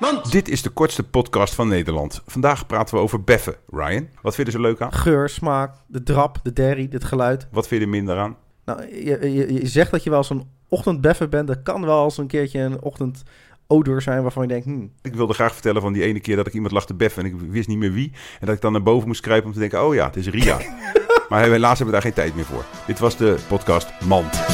Want... Dit is de kortste podcast van Nederland. Vandaag praten we over beffen, Ryan. Wat vind je er zo leuk aan? Geur, smaak, de drap, de derry, het geluid. Wat vind je er minder aan? Nou, je, je, je zegt dat je wel zo'n ochtendbeffer bent. Dat kan wel als een keertje een ochtend odor zijn waarvan je denkt... Hmm. Ik wilde graag vertellen van die ene keer dat ik iemand lag te beffen en ik wist niet meer wie. En dat ik dan naar boven moest kruipen om te denken, oh ja, het is Ria. maar helaas hebben we daar geen tijd meer voor. Dit was de podcast Mand.